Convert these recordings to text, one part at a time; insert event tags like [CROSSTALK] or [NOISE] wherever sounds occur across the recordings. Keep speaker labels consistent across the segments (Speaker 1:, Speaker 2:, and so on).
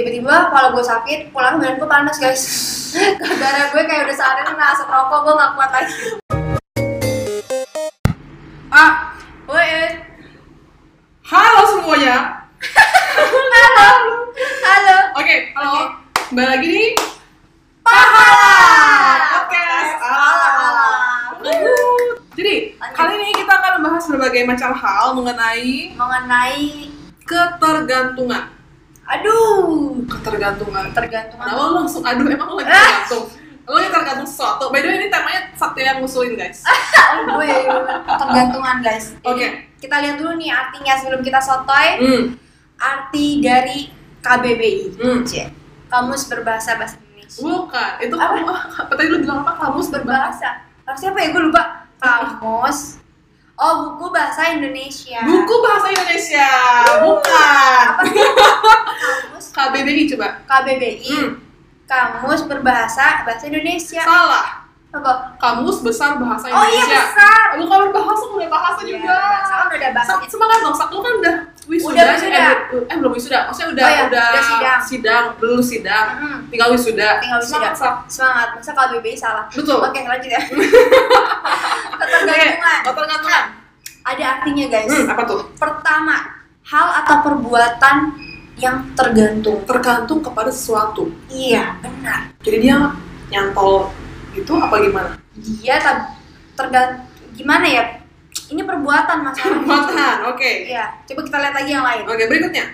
Speaker 1: tiba-tiba kalau gue sakit pulang badan gue panas guys [LAUGHS] gara-gara gue kayak udah seharian kena asap rokok gue gak kuat lagi
Speaker 2: Ah,
Speaker 1: Woi, eh.
Speaker 2: halo semuanya.
Speaker 1: halo halo
Speaker 2: Oke, halo. Mbak lagi di
Speaker 1: pahala
Speaker 2: podcast.
Speaker 1: ala ala
Speaker 2: Wuhu. Jadi,
Speaker 1: Lanjut.
Speaker 2: kali ini kita akan membahas berbagai macam hal mengenai
Speaker 1: mengenai
Speaker 2: ketergantungan.
Speaker 1: aduh
Speaker 2: Ketergantungan.
Speaker 1: tergantung
Speaker 2: Kenapa lo langsung aduh emang lo lagi
Speaker 1: Ah.
Speaker 2: tergantung? Lo lagi tergantung sesuatu. By the way, ini temanya Sakti yang ngusulin, guys.
Speaker 1: Eh. gue tergantungan guys
Speaker 2: Oke.
Speaker 1: kita lihat dulu nih artinya sebelum kita sotoy
Speaker 2: Hmm.
Speaker 1: arti dari KBBI
Speaker 2: Hmm.
Speaker 1: Cie. kamus berbahasa bahasa Indonesia
Speaker 2: Bukan, itu
Speaker 1: Apa?
Speaker 2: kamu apa tadi lo bilang apa? Kamus berbahasa.
Speaker 1: berbahasa harusnya apa ya gue lupa kamus oh buku bahasa Indonesia
Speaker 2: Buku bahasa Indonesia. Bukan.
Speaker 1: apa sih kamus
Speaker 2: KBBI coba.
Speaker 1: KBBI
Speaker 2: Hmm.
Speaker 1: kamus berbahasa bahasa Indonesia
Speaker 2: Salah.
Speaker 1: apa
Speaker 2: Kamus Besar Bahasa
Speaker 1: Iya. oh iya
Speaker 2: Indonesia.
Speaker 1: besar
Speaker 2: Lu kabar bahasa, lu udah bahasa
Speaker 1: Iya,
Speaker 2: juga.
Speaker 1: bahasa kan udah bahasa
Speaker 2: Sak, semangat dong, Sak. Lu kan udah wisuda.
Speaker 1: Udah wisuda.
Speaker 2: Eh, belum- eh, belum wisuda. Maksudnya udah,
Speaker 1: Oh iya,
Speaker 2: udah,
Speaker 1: udah sidang.
Speaker 2: belum sidang.
Speaker 1: Mm-mm.
Speaker 2: Tinggal wisuda.
Speaker 1: Tinggal wisuda.
Speaker 2: Semangat, Sak.
Speaker 1: Hmm. semangat masa KBBI salah
Speaker 2: Betul.
Speaker 1: oke lanjut
Speaker 2: [LAUGHS]
Speaker 1: ya
Speaker 2: Oke,
Speaker 1: ketergantungan
Speaker 2: ketergantungan.
Speaker 1: ada artinya guys
Speaker 2: Hmm, apa tuh?
Speaker 1: pertama hal atau perbuatan yang tergantung
Speaker 2: Tergantung kepada sesuatu.
Speaker 1: iya benar
Speaker 2: Jadi dia nyantol gitu apa gimana?
Speaker 1: dia tergantung Iya, gimana ya ini perbuatan masalahnya
Speaker 2: Perbuatan, oke.
Speaker 1: Iya, coba kita lihat lagi yang lain.
Speaker 2: Oke, berikutnya.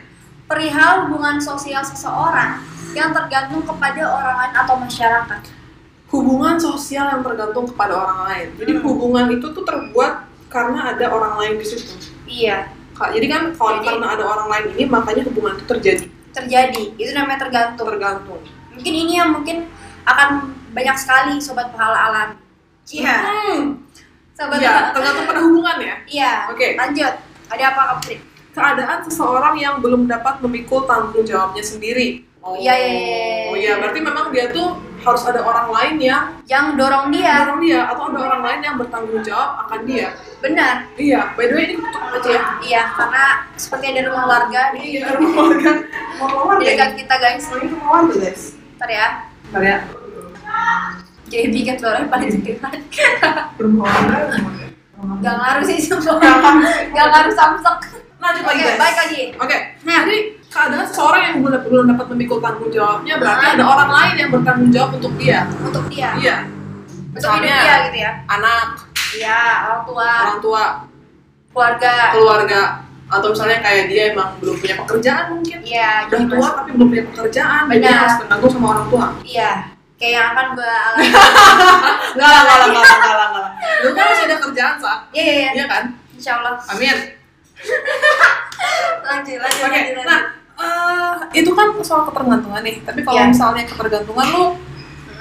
Speaker 1: Perihal hubungan sosial seseorang yang tergantung kepada orang lain atau masyarakat.
Speaker 2: Hubungan sosial yang tergantung kepada orang lain. Jadi
Speaker 1: Hmm.
Speaker 2: hubungan itu tuh terbuat karena ada orang lain di situ.
Speaker 1: Iya,
Speaker 2: Ka- Jadi kan kalau
Speaker 1: Jadi-
Speaker 2: karena ada orang lain ini makanya hubungan itu terjadi
Speaker 1: terjadi. Itu namanya tergantung.
Speaker 2: tergantung.
Speaker 1: Mungkin ini yang mungkin akan banyak sekali sobat pahala alam. Iya,
Speaker 2: Hmm.
Speaker 1: sobat
Speaker 2: Iya,
Speaker 1: pahala.
Speaker 2: tergantung pada hubungan ya.
Speaker 1: Iya.
Speaker 2: Oke.
Speaker 1: Lanjut. Ada apa Kak Putri?
Speaker 2: Keadaan seseorang yang belum dapat memikul tanggung jawabnya sendiri. Oh
Speaker 1: Iya, iya, iya, iya.
Speaker 2: Oh iya, berarti memang dia tuh harus ada orang lain yang
Speaker 1: Yang dorong dia.
Speaker 2: mendorong dia atau ada orang lain yang bertanggung jawab akan dia.
Speaker 1: Benar.
Speaker 2: Iya, by the way ini untuk aja ya.
Speaker 1: Iya, karena seperti ada rumah warga di
Speaker 2: Iya, rumah warga. Rumah
Speaker 1: di
Speaker 2: warga.
Speaker 1: dekat kita guys.
Speaker 2: Ini rumah warga, guys.
Speaker 1: Ntar ya.
Speaker 2: Bentar ya.
Speaker 1: Jadi bikin suaranya paling
Speaker 2: Iya.
Speaker 1: gede banget.
Speaker 2: Rumah warga. rumah warga. Rumah warga.
Speaker 1: Gak ngaruh
Speaker 2: [LAUGHS]
Speaker 1: sih semua. Gak ngaruh samsek.
Speaker 2: Lanjut lagi,
Speaker 1: Oke,
Speaker 2: guys.
Speaker 1: balik lagi.
Speaker 2: Oke. Jadi keadaan seseorang yang belum belum dapat memikul tanggung jawabnya berarti ada orang lain yang bertanggung jawab untuk dia.
Speaker 1: Untuk dia.
Speaker 2: Iya.
Speaker 1: Untuk hidup dia gitu ya.
Speaker 2: anak,
Speaker 1: Iya, orang tua,
Speaker 2: orang tua,
Speaker 1: keluarga.
Speaker 2: keluarga, atau misalnya kayak dia emang belum punya pekerjaan mungkin.
Speaker 1: Iya,
Speaker 2: Udah
Speaker 1: jadi
Speaker 2: tua
Speaker 1: mas-
Speaker 2: tapi belum punya pekerjaan, jadi dia
Speaker 1: Benar.
Speaker 2: harus tergantung sama orang tua.
Speaker 1: Iya. Kayak yang akan gue
Speaker 2: [LAUGHS]
Speaker 1: alami.
Speaker 2: Enggak lah, enggak lah, enggak lah, enggak lah, enggak lah. Lu kan masih ada kerjaan, Sa.
Speaker 1: Iya, iya, iya.
Speaker 2: Iya kan?
Speaker 1: Insya Allah.
Speaker 2: Amin.
Speaker 1: Lanjut, lanjut,
Speaker 2: Oke,
Speaker 1: lanjut. lanjut.
Speaker 2: nah eh, itu kan soal ketergantungan nih. Tapi kalau
Speaker 1: Iya.
Speaker 2: misalnya ketergantungan lu,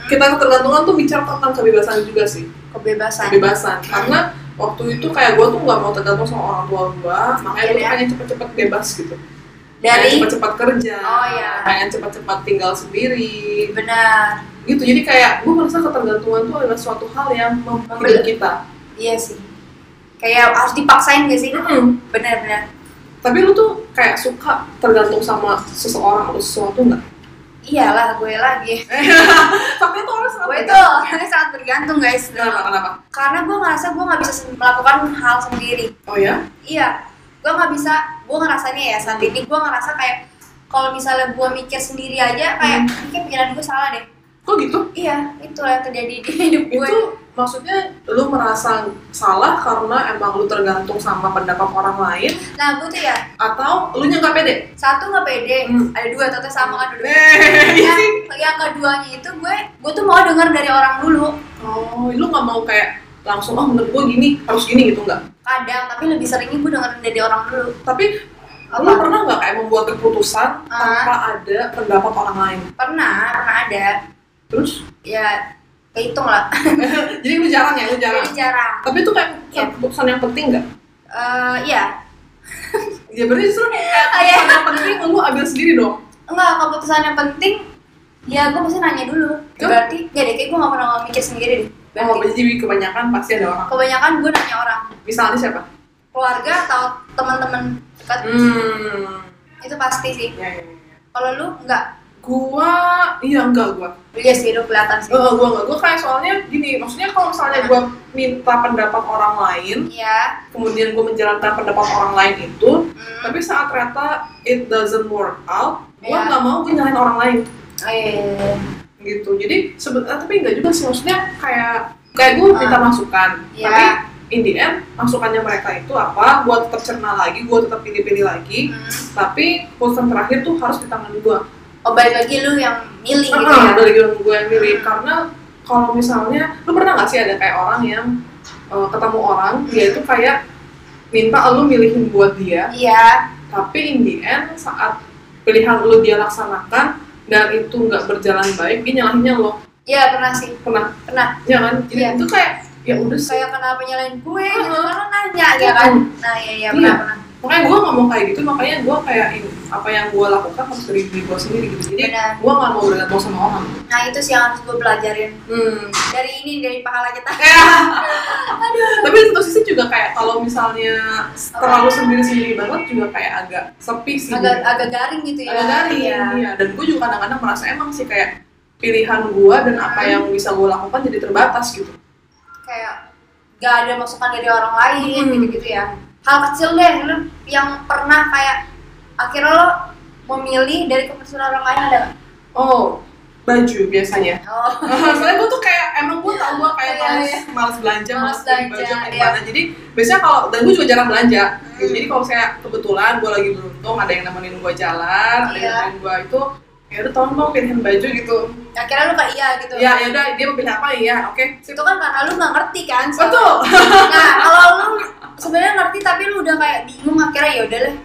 Speaker 2: kita ketergantungan tuh bicara tentang kebebasan juga sih,
Speaker 1: Kebebasan.
Speaker 2: kebebasan. Karena waktu itu kayak gue tuh nggak mau tergantung sama orang tua gue, makanya gue
Speaker 1: Iya.
Speaker 2: pengen cepet-cepet bebas gitu. pengen
Speaker 1: Dari
Speaker 2: cepet-cepet kerja,
Speaker 1: Oh, iya.
Speaker 2: pengen cepet-cepet tinggal sendiri,
Speaker 1: benar.
Speaker 2: gitu. Jadi kayak gue merasa ketergantungan tuh adalah suatu hal yang memperhidup kita.
Speaker 1: Iya sih. Kayak harus dipaksain gak sih?
Speaker 2: Mm-mm.
Speaker 1: Benar-benar.
Speaker 2: Tapi lu tuh kayak suka tergantung sama seseorang atau sesuatu
Speaker 1: [LAUGHS]
Speaker 2: nggak?
Speaker 1: Iyalah, gue lagi.
Speaker 2: Faktanya tuh orang selalu
Speaker 1: gue tuh orangnya sangat bergantung guys.
Speaker 2: Kenapa? Kenapa?
Speaker 1: Karena gue ngerasa gue nggak bisa sen- melakukan hal sendiri.
Speaker 2: Oh ya?
Speaker 1: iya gue nggak bisa gue ngerasanya ya saat ini gue ngerasa kayak kalau misalnya gue mikir sendiri aja kayak
Speaker 2: Hmm.
Speaker 1: ini kayak pikiran gue salah deh
Speaker 2: Kok gitu?
Speaker 1: iya itulah yang terjadi [LAUGHS] di hidup gue
Speaker 2: itu maksudnya lu merasa salah karena emang lu tergantung sama pendapat orang lain
Speaker 1: nah gue tuh ya
Speaker 2: atau lu nya nggak pede
Speaker 1: satu nggak pede
Speaker 2: Hmm.
Speaker 1: ada dua tentu sama kan dulu
Speaker 2: [LAUGHS] Iya sih.
Speaker 1: yang keduanya itu gue gue tuh mau dengar dari orang dulu
Speaker 2: oh lu nggak mau kayak langsung oh menurut gua gini harus gini gitu nggak
Speaker 1: kadang tapi lebih seringnya gue dengerin dari orang dulu
Speaker 2: tapi
Speaker 1: Apa?
Speaker 2: lu pernah nggak kayak membuat keputusan
Speaker 1: Ah.
Speaker 2: tanpa ada pendapat orang lain
Speaker 1: pernah pernah ada
Speaker 2: terus [LAUGHS]
Speaker 1: ya kehitung lah [LAUGHS]
Speaker 2: jadi lu jarang ya lu jarang
Speaker 1: jadi jarang
Speaker 2: tapi itu kayak
Speaker 1: Iya.
Speaker 2: keputusan yang penting nggak
Speaker 1: Eh, iya
Speaker 2: ya berarti justru kayak
Speaker 1: [LAUGHS] Oh, iya.
Speaker 2: keputusan yang penting lu ambil sendiri dong
Speaker 1: Enggak, keputusan yang penting ya gue pasti nanya dulu.
Speaker 2: Tuh.
Speaker 1: Berarti ya deh, kayak gue gak pernah mikir sendiri deh.
Speaker 2: oh,
Speaker 1: Berarti
Speaker 2: jadi kebanyakan pasti ada orang
Speaker 1: kebanyakan gue nanya orang,
Speaker 2: misalnya siapa
Speaker 1: keluarga atau teman-teman dekat
Speaker 2: hmm
Speaker 1: itu pasti sih.
Speaker 2: Ya, ya, ya.
Speaker 1: Kalau lu nggak,
Speaker 2: gua iya enggak gua
Speaker 1: iya sih lu kelihatan sih.
Speaker 2: Eh, gua enggak gua kayak soalnya gini maksudnya kalau misalnya gua minta pendapat orang lain
Speaker 1: Iya.
Speaker 2: kemudian gua menjalankan pendapat orang lain itu
Speaker 1: Hmm.
Speaker 2: tapi saat ternyata it doesn't work out gua
Speaker 1: Iya.
Speaker 2: nggak mau gua nyalahin orang lain
Speaker 1: Eh,
Speaker 2: gitu jadi sebenarnya tapi nggak juga sih maksudnya kayak kayak gue minta
Speaker 1: Ah.
Speaker 2: masukan
Speaker 1: Iya.
Speaker 2: tapi in the end masukannya mereka itu apa gue tetap cerna lagi gue tetap pilih-pilih lagi
Speaker 1: hmm.
Speaker 2: tapi keputusan terakhir tuh harus di tangan gue
Speaker 1: Oh balik lagi lu yang milih gitu ya.
Speaker 2: Ah, dari gue yang milih
Speaker 1: Hmm.
Speaker 2: karena kalau misalnya lu pernah nggak sih ada kayak orang yang eh, ketemu orang dia itu kayak minta lu milihin buat dia
Speaker 1: Iya.
Speaker 2: tapi in the end saat pilihan lu dia laksanakan dan itu nggak berjalan baik dia nyalahinnya lo
Speaker 1: Iya pernah sih.
Speaker 2: pernah
Speaker 1: Pernah.
Speaker 2: ya kan jadi
Speaker 1: Iya.
Speaker 2: itu kayak ya udah sih
Speaker 1: Saya kenapa nyalain gue?
Speaker 2: Uh-huh.
Speaker 1: Gitu karena nanya ya kan. Nah iya iya pernah
Speaker 2: Iya.
Speaker 1: pernah.
Speaker 2: makanya gue nggak mau kayak gitu makanya gue kayak ini, apa yang gue lakukan harus dari diri gue sendiri gitu jadi
Speaker 1: Benar.
Speaker 2: gue nggak mau bergantung sama orang
Speaker 1: Nah itu sih yang harus gue pelajarin
Speaker 2: hmm.
Speaker 1: dari ini dari pahala kita. [LAUGHS]
Speaker 2: tapi di satu sisi juga kayak kalau misalnya terlalu sendiri-sendiri banget juga kayak agak sepi sih
Speaker 1: Agak agak garing gitu ya.
Speaker 2: agak garing
Speaker 1: Iya.
Speaker 2: iya. dan gue juga kadang-kadang merasa emang sih kayak pilihan gue dan apa
Speaker 1: Hmm.
Speaker 2: yang bisa gue lakukan jadi terbatas gitu
Speaker 1: Kayak gak ada masukan dari orang lain
Speaker 2: Hmm.
Speaker 1: gitu gitu ya. Hal kecil deh lu yang pernah kayak akhirnya lo memilih dari keputusan orang lain ada nggak?
Speaker 2: oh baju biasanya
Speaker 1: [LAUGHS] Oh.
Speaker 2: Soalnya gue tuh kayak emang gue tau gue kayak
Speaker 1: Iya,
Speaker 2: males,
Speaker 1: iya.
Speaker 2: males belanja,
Speaker 1: Males
Speaker 2: males beli
Speaker 1: belanja,
Speaker 2: baju apa
Speaker 1: iya.
Speaker 2: gimana. Jadi biasanya kalau dan gue juga jarang belanja. Gitu.
Speaker 1: Hmm.
Speaker 2: Jadi kalau saya kebetulan gue lagi beruntung ada yang nemenin gue jalan, ada yang
Speaker 1: Iya.
Speaker 2: nemenin gue itu ya udah tolong dong pilihin baju gitu.
Speaker 1: Akhirnya lu kayak iya gitu.
Speaker 2: Ya ya udah dia mau pilih apa ya oke. sip.
Speaker 1: itu kan karena lu nggak ngerti kan so-
Speaker 2: Betul.
Speaker 1: nah kalau lu sebenarnya ngerti tapi lu udah kayak bingung akhirnya ya udahlah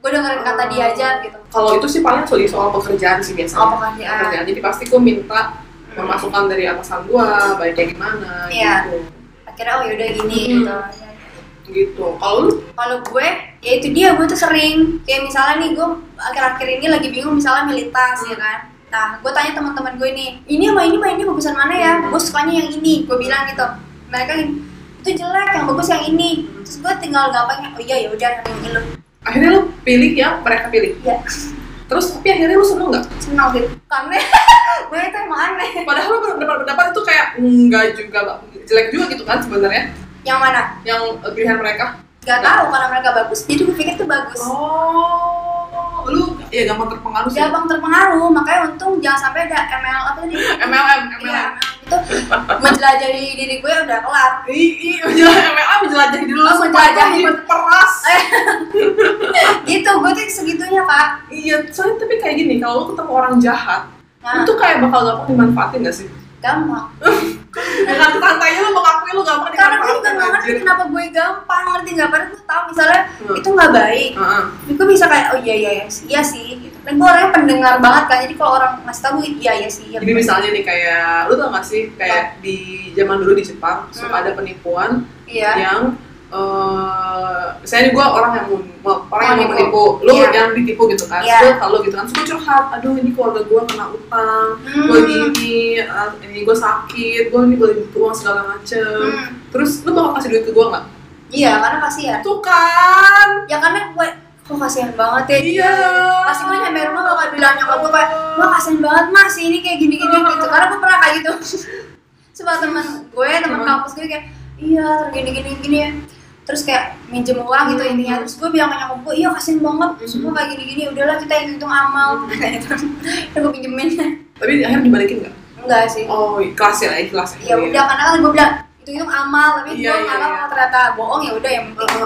Speaker 1: gue dengerin kata dia aja gitu
Speaker 2: Kalau itu sih paling soal soal pekerjaan sih biasanya.
Speaker 1: Oh, pekerjaan.
Speaker 2: Jadi pasti gue minta masukan dari atasan gue, baiknya gimana
Speaker 1: Iya.
Speaker 2: gitu.
Speaker 1: akhirnya oh ya udah gini
Speaker 2: Hmm.
Speaker 1: gitu
Speaker 2: Gitu. Kalau lu
Speaker 1: kalau gue ya itu dia gue tuh sering kayak misalnya nih gue akhir-akhir ini lagi bingung misalnya militas ya kan nah gue tanya teman-teman gue nih ini sama ini sama ini bagusan mana ya
Speaker 2: Hmm.
Speaker 1: gue sukanya yang ini gue bilang gitu mereka gini, itu jelek yang bagus yang ini terus gue tinggal gampangnya oh iya ya udah yang ini lu
Speaker 2: akhirnya lu pilih yang mereka pilih.
Speaker 1: ya
Speaker 2: Terus tapi akhirnya lu seneng nggak?
Speaker 1: senang gitu karena [LAUGHS] gue itu emang aneh
Speaker 2: Padahal lo pendapat-pendapat itu kayak enggak juga nggak jelek juga gitu kan sebenarnya
Speaker 1: yang mana
Speaker 2: yang eh, pilihan mereka.
Speaker 1: Gak tahu karena mereka bagus, jadi gue pikir itu bagus.
Speaker 2: Oh, lu ya gampang terpengaruh sih.
Speaker 1: Gampang terpengaruh, makanya untung jangan sampai ada ML apa tadi?
Speaker 2: MLM,
Speaker 1: Iya,
Speaker 2: MLM.
Speaker 1: ML itu menjelajahi diri gue udah kelar.
Speaker 2: Ih, ih, menjelah- MLM menjelajahi dulu
Speaker 1: Oh, menjelajahi.
Speaker 2: supaya jadi peras.
Speaker 1: gitu, gue tuh segitunya kak.
Speaker 2: Iya, soalnya tapi kayak gini, kalau lu ketemu orang jahat,
Speaker 1: Nah,
Speaker 2: itu kayak bakal gampang dimanfaatin gak sih?
Speaker 1: gampang.
Speaker 2: Dengan santainya lu mengakui lu gampang
Speaker 1: Nah. Karena gitu. gue juga
Speaker 2: dimanfaatin
Speaker 1: gak ngerti
Speaker 2: anjir.
Speaker 1: kenapa gue gampang, ngerti gak? Padahal gue tahu misalnya
Speaker 2: Hmm.
Speaker 1: itu nggak baik.
Speaker 2: Heeh.
Speaker 1: Jadi gue bisa kayak, oh iya iya iya, sih, iya sih. Gitu. Dan gue orangnya pendengar banget kan, jadi kalau orang ngasih tau gue, iya iya sih. Iya,
Speaker 2: Jadi misalnya nih kayak, lu tau gak sih kayak di zaman dulu di Jepang suka
Speaker 1: Hmm.
Speaker 2: ada penipuan
Speaker 1: iya.
Speaker 2: yang eh misalnya gue orang yang mau orang yang mau menipu
Speaker 1: Menipu.
Speaker 2: lu
Speaker 1: Iya.
Speaker 2: yang ditipu gitu kan
Speaker 1: Iya.
Speaker 2: yeah. kalau gitu kan gue curhat aduh ini keluarga gue kena utang
Speaker 1: Hmm.
Speaker 2: gue gini eh, ini gue sakit gue ini boleh butuh uang segala macem
Speaker 1: Hmm.
Speaker 2: terus lu bakal kasih duit ke gue nggak
Speaker 1: Iya, karena kasihan.
Speaker 2: tuh kan
Speaker 1: ya karena gue kok kasihan banget ya
Speaker 2: Iya.
Speaker 1: pasti gue nyampe rumah bakal bilang nyokap gue kayak wah kasihan banget mas ini kayak gini gini
Speaker 2: Iya.
Speaker 1: gitu karena gue pernah kayak gitu [LAUGHS] sebab teman gue teman
Speaker 2: Emang?
Speaker 1: kampus gue kayak iya terus gini gini gini ya terus kayak minjem uang gitu
Speaker 2: Hmm.
Speaker 1: intinya terus gue bilang ke nyokap gue iya kasihan banget
Speaker 2: Hmm. Iya.
Speaker 1: semua kayak gini gini udahlah kita hitung hitung
Speaker 2: [LAUGHS]
Speaker 1: amal terus gue pinjemin
Speaker 2: tapi akhirnya dibalikin nggak
Speaker 1: enggak sih
Speaker 2: oh ikhlas ya ikhlas
Speaker 1: ya udah karena kan gue bilang hitung hitung amal tapi
Speaker 2: Iya,
Speaker 1: gue
Speaker 2: iya,
Speaker 1: ngalah
Speaker 2: iya.
Speaker 1: ternyata bohong ya udah yang penting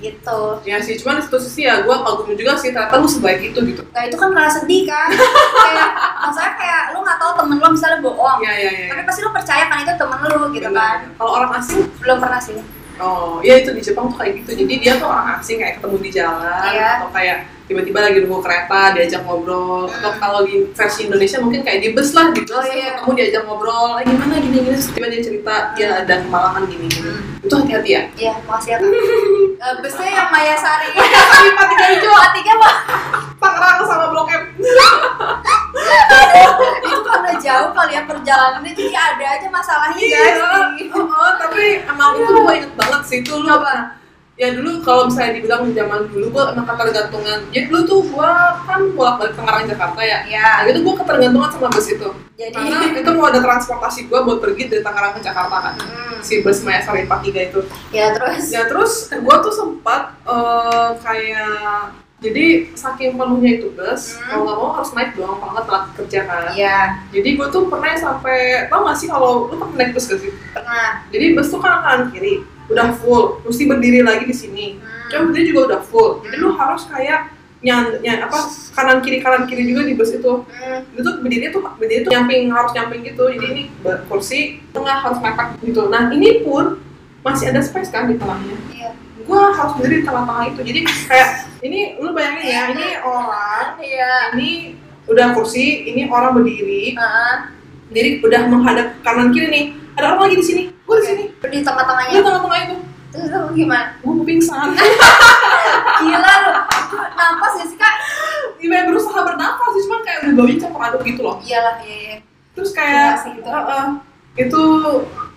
Speaker 1: gitu
Speaker 2: ya sih cuman di satu sisi ya gue kagum juga sih ternyata lu sebaik itu gitu
Speaker 1: Nah itu kan karena sedih kan kayak maksudnya kayak lu nggak tahu temen lo misalnya bohong
Speaker 2: ya ya ya,
Speaker 1: Oh. tapi
Speaker 2: ya.
Speaker 1: pasti lu percaya kan itu temen lu gitu kan
Speaker 2: Bener. kalau orang asing
Speaker 1: belum pernah sih
Speaker 2: Oh, ya itu di Jepang tuh kayak gitu. Jadi dia tuh orang asing kayak ketemu di jalan
Speaker 1: Iya.
Speaker 2: atau kayak tiba-tiba lagi nunggu kereta diajak ngobrol atau
Speaker 1: Hmm.
Speaker 2: kalau di versi Indonesia mungkin kayak di bus lah gitu
Speaker 1: Oh,
Speaker 2: sih
Speaker 1: iya.
Speaker 2: ketemu diajak ngobrol "Eh, gimana gini gini terus tiba dia cerita dia ada kemalangan gini gini itu hati-hati ya
Speaker 1: iya makasih ya kak Eh, busnya yang Maya Sari
Speaker 2: tapi pati hijau
Speaker 1: dua tiga mah
Speaker 2: Tangerang sama Blok M
Speaker 1: itu karena jauh kali ya perjalanannya jadi ada aja masalahnya
Speaker 2: iya
Speaker 1: guys
Speaker 2: oh, oh, tapi emang itu gue inget banget sih itu lu apa ya dulu kalau misalnya dibilang di zaman dulu gue emang ketergantungan jadi dulu tuh gue kan bolak balik Tangerang Jakarta ya nah
Speaker 1: Iya.
Speaker 2: itu gue ketergantungan sama bus itu
Speaker 1: Jadi
Speaker 2: karena itu mau ada transportasi gue buat pergi dari Tangerang ke Jakarta kan
Speaker 1: Hmm.
Speaker 2: si bus Maya Sari 43 itu
Speaker 1: ya terus
Speaker 2: ya terus gue tuh sempat eh, kayak jadi saking penuhnya itu bus
Speaker 1: Hmm.
Speaker 2: kalau nggak mau harus naik dong kalau nggak telat kerja kan
Speaker 1: Iya.
Speaker 2: jadi gue tuh pernah sampai tau gak sih kalau lu pernah naik bus gak sih
Speaker 1: pernah
Speaker 2: jadi bus tuh kan kanan kiri udah full mesti berdiri lagi di sini
Speaker 1: Hmm.
Speaker 2: cuma berdiri juga udah full jadi lu harus kayak nyan, nyan- apa kanan kiri kanan kiri juga di bus itu
Speaker 1: Hmm.
Speaker 2: itu tuh berdiri tuh berdiri tuh nyamping harus nyamping gitu jadi ini ber- kursi tengah harus mepet gitu nah ini pun masih ada space kan di tengahnya
Speaker 1: Iya.
Speaker 2: gue harus berdiri di tengah-tengah itu jadi kayak ini lu bayangin ya ini orang
Speaker 1: Iya.
Speaker 2: ini udah kursi ini orang berdiri
Speaker 1: Heeh.
Speaker 2: jadi udah menghadap ke kanan kiri nih ada orang lagi di sini gue di sini
Speaker 1: Di
Speaker 2: di
Speaker 1: tengah-tengahnya.
Speaker 2: tengah-tengah itu
Speaker 1: Terus lu gimana?
Speaker 2: gue mau pingsan [LAUGHS]
Speaker 1: Gila lu. Itu Napas gak sih kak?
Speaker 2: gimana Iya, berusaha bernafas sih cuman kayak udah baunya campur aduk gitu loh
Speaker 1: Iyalah, iya iya.
Speaker 2: terus kayak
Speaker 1: Iya sih, gitu.
Speaker 2: eh, eh, itu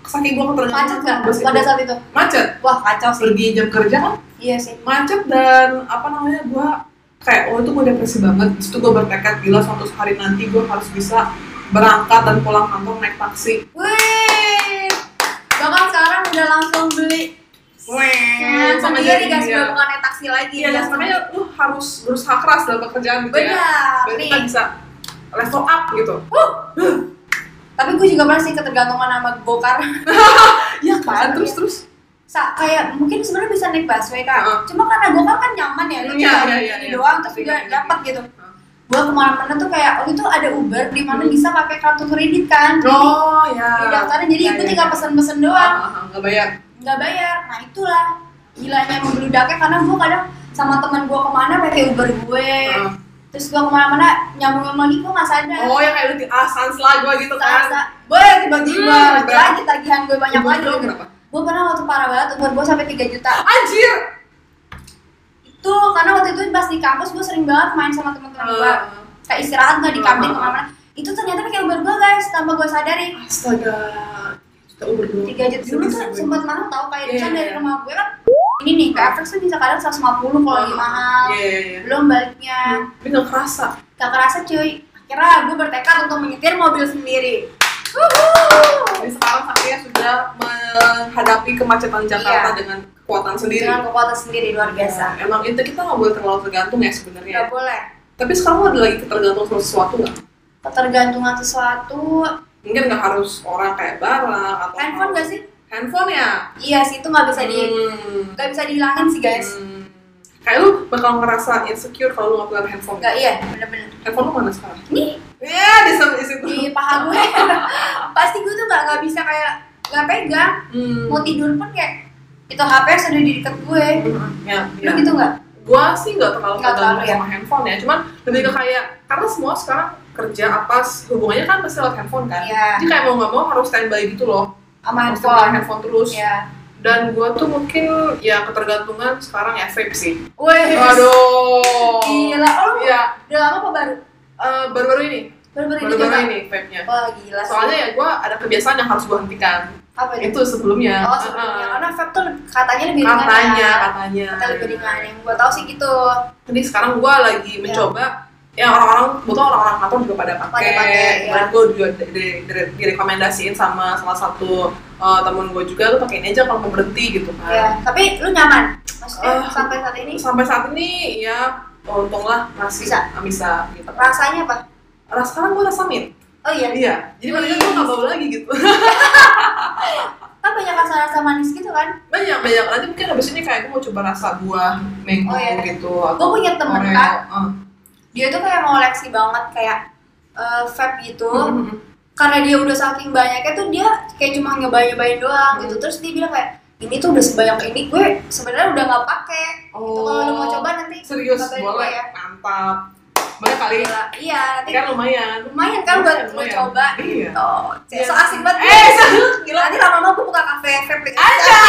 Speaker 2: saking gue
Speaker 1: Macet
Speaker 2: ketergantungan
Speaker 1: gak
Speaker 2: bus itu.
Speaker 1: pada saat itu?
Speaker 2: macet
Speaker 1: Wah kacau sih.
Speaker 2: pergi jam kerja kan
Speaker 1: Iya sih.
Speaker 2: macet dan apa namanya gue kayak oh itu gue depresi banget Terus itu gue bertekad gila suatu hari nanti gue harus bisa berangkat dan pulang kantor naik taksi
Speaker 1: Wih. Bahkan sekarang udah langsung beli Nah,
Speaker 2: Weng,
Speaker 1: sendiri
Speaker 2: jadi
Speaker 1: guys,
Speaker 2: dia.
Speaker 1: udah bukan naik taksi lagi.
Speaker 2: iya
Speaker 1: udah
Speaker 2: dan makanya lu harus berusaha keras dalam pekerjaan gitu ya
Speaker 1: Benar.
Speaker 2: Biar kita
Speaker 1: Nih.
Speaker 2: bisa level up gitu
Speaker 1: Tapi gue juga pernah sih ketergantungan sama bokar.
Speaker 2: [LAUGHS] iya kan terus terus
Speaker 1: Sa kayak mungkin sebenarnya bisa naik busway kak.
Speaker 2: Heeh.
Speaker 1: Cuma karena gokar kan nyaman ya, lu
Speaker 2: Iya,
Speaker 1: tinggal
Speaker 2: iya,
Speaker 1: ini
Speaker 2: iya, iya.
Speaker 1: doang terus udah
Speaker 2: Iya, iya,
Speaker 1: dapat gitu.
Speaker 2: Heeh.
Speaker 1: Gua kemana-mana tuh kayak waktu itu ada Uber di mana
Speaker 2: Hmm.
Speaker 1: bisa pakai kartu kredit kan.
Speaker 2: oh ya
Speaker 1: Jadi, di daftarnya jadi
Speaker 2: Iya,
Speaker 1: gue
Speaker 2: iya,
Speaker 1: tinggal
Speaker 2: iya.
Speaker 1: pesen-pesen
Speaker 2: Ah,
Speaker 1: doang,
Speaker 2: ah, ah, nggak bayar
Speaker 1: nggak bayar. Nah itulah gilanya membludaknya karena gue kadang sama teman gue kemana pakai Uber gue,
Speaker 2: Heeh.
Speaker 1: terus gue kemana-mana nyambung lagi gue nggak sadar.
Speaker 2: Hmm. oh yang kayak di ah sans lah gue gitu
Speaker 1: Sa-
Speaker 2: kan
Speaker 1: sa- Boy, tiba-tiba
Speaker 2: Hmm,
Speaker 1: balik lagi tagihan gue banyak
Speaker 2: Uber
Speaker 1: lagi.
Speaker 2: lo berapa?
Speaker 1: Gue pernah waktu parah banget, umur gue sampai 3 juta.
Speaker 2: anjir
Speaker 1: Itu karena waktu itu pas di kampus gue sering banget main sama teman-teman gue.
Speaker 2: Ah,
Speaker 1: Kayak istirahat gak di
Speaker 2: Ah,
Speaker 1: kantin
Speaker 2: ah,
Speaker 1: kemana-mana. Itu ternyata pakai Uber gue guys, tanpa gue sadari.
Speaker 2: Eh, astaga kita umur dulu
Speaker 1: 3 juta dulu kan
Speaker 2: Sedih
Speaker 1: tuh
Speaker 2: sih.
Speaker 1: sempat mahal tau kayak
Speaker 2: Iya,
Speaker 1: yeah, dari
Speaker 2: iya.
Speaker 1: rumah gue kan ini nih ke Apex tuh bisa kadang 150 kalau lagi mahal
Speaker 2: Iya, iya, iya.
Speaker 1: belum baliknya
Speaker 2: Tapi nggak kerasa.
Speaker 1: gak kerasa cuy akhirnya gue bertekad untuk menyetir mobil sendiri Wuhuu.
Speaker 2: Jadi sekarang Satria sudah menghadapi kemacetan Jakarta
Speaker 1: Iya.
Speaker 2: dengan kekuatan sendiri.
Speaker 1: dengan kekuatan sendiri luar biasa Iya.
Speaker 2: Emang itu kita nggak boleh terlalu tergantung ya sebenarnya.
Speaker 1: gak boleh
Speaker 2: Tapi sekarang lo ada lagi ketergantungan sama sesuatu nggak?
Speaker 1: ketergantungan sesuatu
Speaker 2: Mungkin nggak harus orang kayak barang atau
Speaker 1: handphone gak sih
Speaker 2: Handphone ya.
Speaker 1: iya sih itu nggak bisa di
Speaker 2: Hmm.
Speaker 1: nggak bisa dihilangin sih guys
Speaker 2: Hmm. Kayak lu bakal ngerasa insecure kalau lu nggak punya handphone.
Speaker 1: nggak iya bener-bener
Speaker 2: Handphone lu mana sekarang?
Speaker 1: nih
Speaker 2: Iya, di sana di situ.
Speaker 1: di paha gue [LAUGHS] pasti gue tuh nggak nggak bisa kayak nggak pegang
Speaker 2: Hmm.
Speaker 1: mau tidur pun kayak itu HP sudah di deket gue
Speaker 2: Ya,
Speaker 1: lu
Speaker 2: ya.
Speaker 1: gitu nggak
Speaker 2: gua sih nggak terlalu
Speaker 1: Nggak terlalu,
Speaker 2: tergantung sama handphone ya cuman lebih ke kayak karena semua sekarang kerja apa hubungannya kan pasti lewat handphone kan
Speaker 1: Iya.
Speaker 2: jadi kayak mau nggak mau harus standby gitu loh
Speaker 1: sama
Speaker 2: harus pegang
Speaker 1: handphone
Speaker 2: handphone Iya. terus
Speaker 1: ya
Speaker 2: dan gua tuh mungkin ya ketergantungan sekarang ya vape sih
Speaker 1: weh
Speaker 2: aduh
Speaker 1: gila oh lu
Speaker 2: iya
Speaker 1: udah lama apa baru
Speaker 2: eh, baru-baru ini
Speaker 1: baru-baru ini
Speaker 2: baru-baru
Speaker 1: juga?
Speaker 2: ini vape nya
Speaker 1: wah gila sih.
Speaker 2: soalnya ya gua ada kebiasaan yang harus gua hentikan
Speaker 1: apa itu
Speaker 2: itu sebelumnya Ah,
Speaker 1: oh sebelumnya karena vape tuh katanya lebih
Speaker 2: Eh, eh,
Speaker 1: ringan
Speaker 2: katanya
Speaker 1: ya.
Speaker 2: katanya
Speaker 1: kata lebih ringan Iya. yang gue tau sih gitu
Speaker 2: Jadi sekarang gue lagi mencoba ya orang-orang, betul orang-orang kantor juga pada pakai.
Speaker 1: Pada pakai, ya.
Speaker 2: Kemarin gue juga di, di- di- direkomendasiin sama salah satu uh, temen gue juga, lu pakein aja kalau mau berhenti gitu kan.
Speaker 1: ya tapi lu nyaman maksudnya
Speaker 2: Ah.
Speaker 1: sampai saat ini
Speaker 2: Sampai saat ini ya untunglah masih
Speaker 1: Bisa.
Speaker 2: bisa gitu.
Speaker 1: rasanya apa
Speaker 2: Ras sekarang gue rasa mint.
Speaker 1: oh iya
Speaker 2: Iya. Jadi makanya gue nggak bau lagi gitu.
Speaker 1: kan banyak rasa-rasa manis gitu kan
Speaker 2: banyak banyak nanti mungkin habis ini kayak gue mau coba rasa buah mango
Speaker 1: Oh, iya.
Speaker 2: gitu.
Speaker 1: gue punya temen
Speaker 2: Oreo,
Speaker 1: kan
Speaker 2: eh.
Speaker 1: dia tuh kayak ngoleksi banget kayak eh, vape gitu
Speaker 2: Mm-mm.
Speaker 1: karena dia udah saking banyaknya tuh dia kayak cuma nyobain-nyobain doang gitu terus dia bilang kayak ini tuh udah sebanyak ini gue sebenarnya udah nggak pakai gitu kalau lu mau
Speaker 2: Oh.
Speaker 1: coba nanti
Speaker 2: Serius
Speaker 1: kabarin gue
Speaker 2: boleh.
Speaker 1: ya.
Speaker 2: Mantap. Boleh kali.
Speaker 1: Gila, iya nanti
Speaker 2: Kan lumayan.
Speaker 1: lumayan kan buat lu
Speaker 2: Lumayan.
Speaker 1: coba
Speaker 2: Iya.
Speaker 1: gitu
Speaker 2: Iya.
Speaker 1: so asik banget
Speaker 2: Eh,
Speaker 1: so, gila nanti lama-lama gue buka kafe vape aja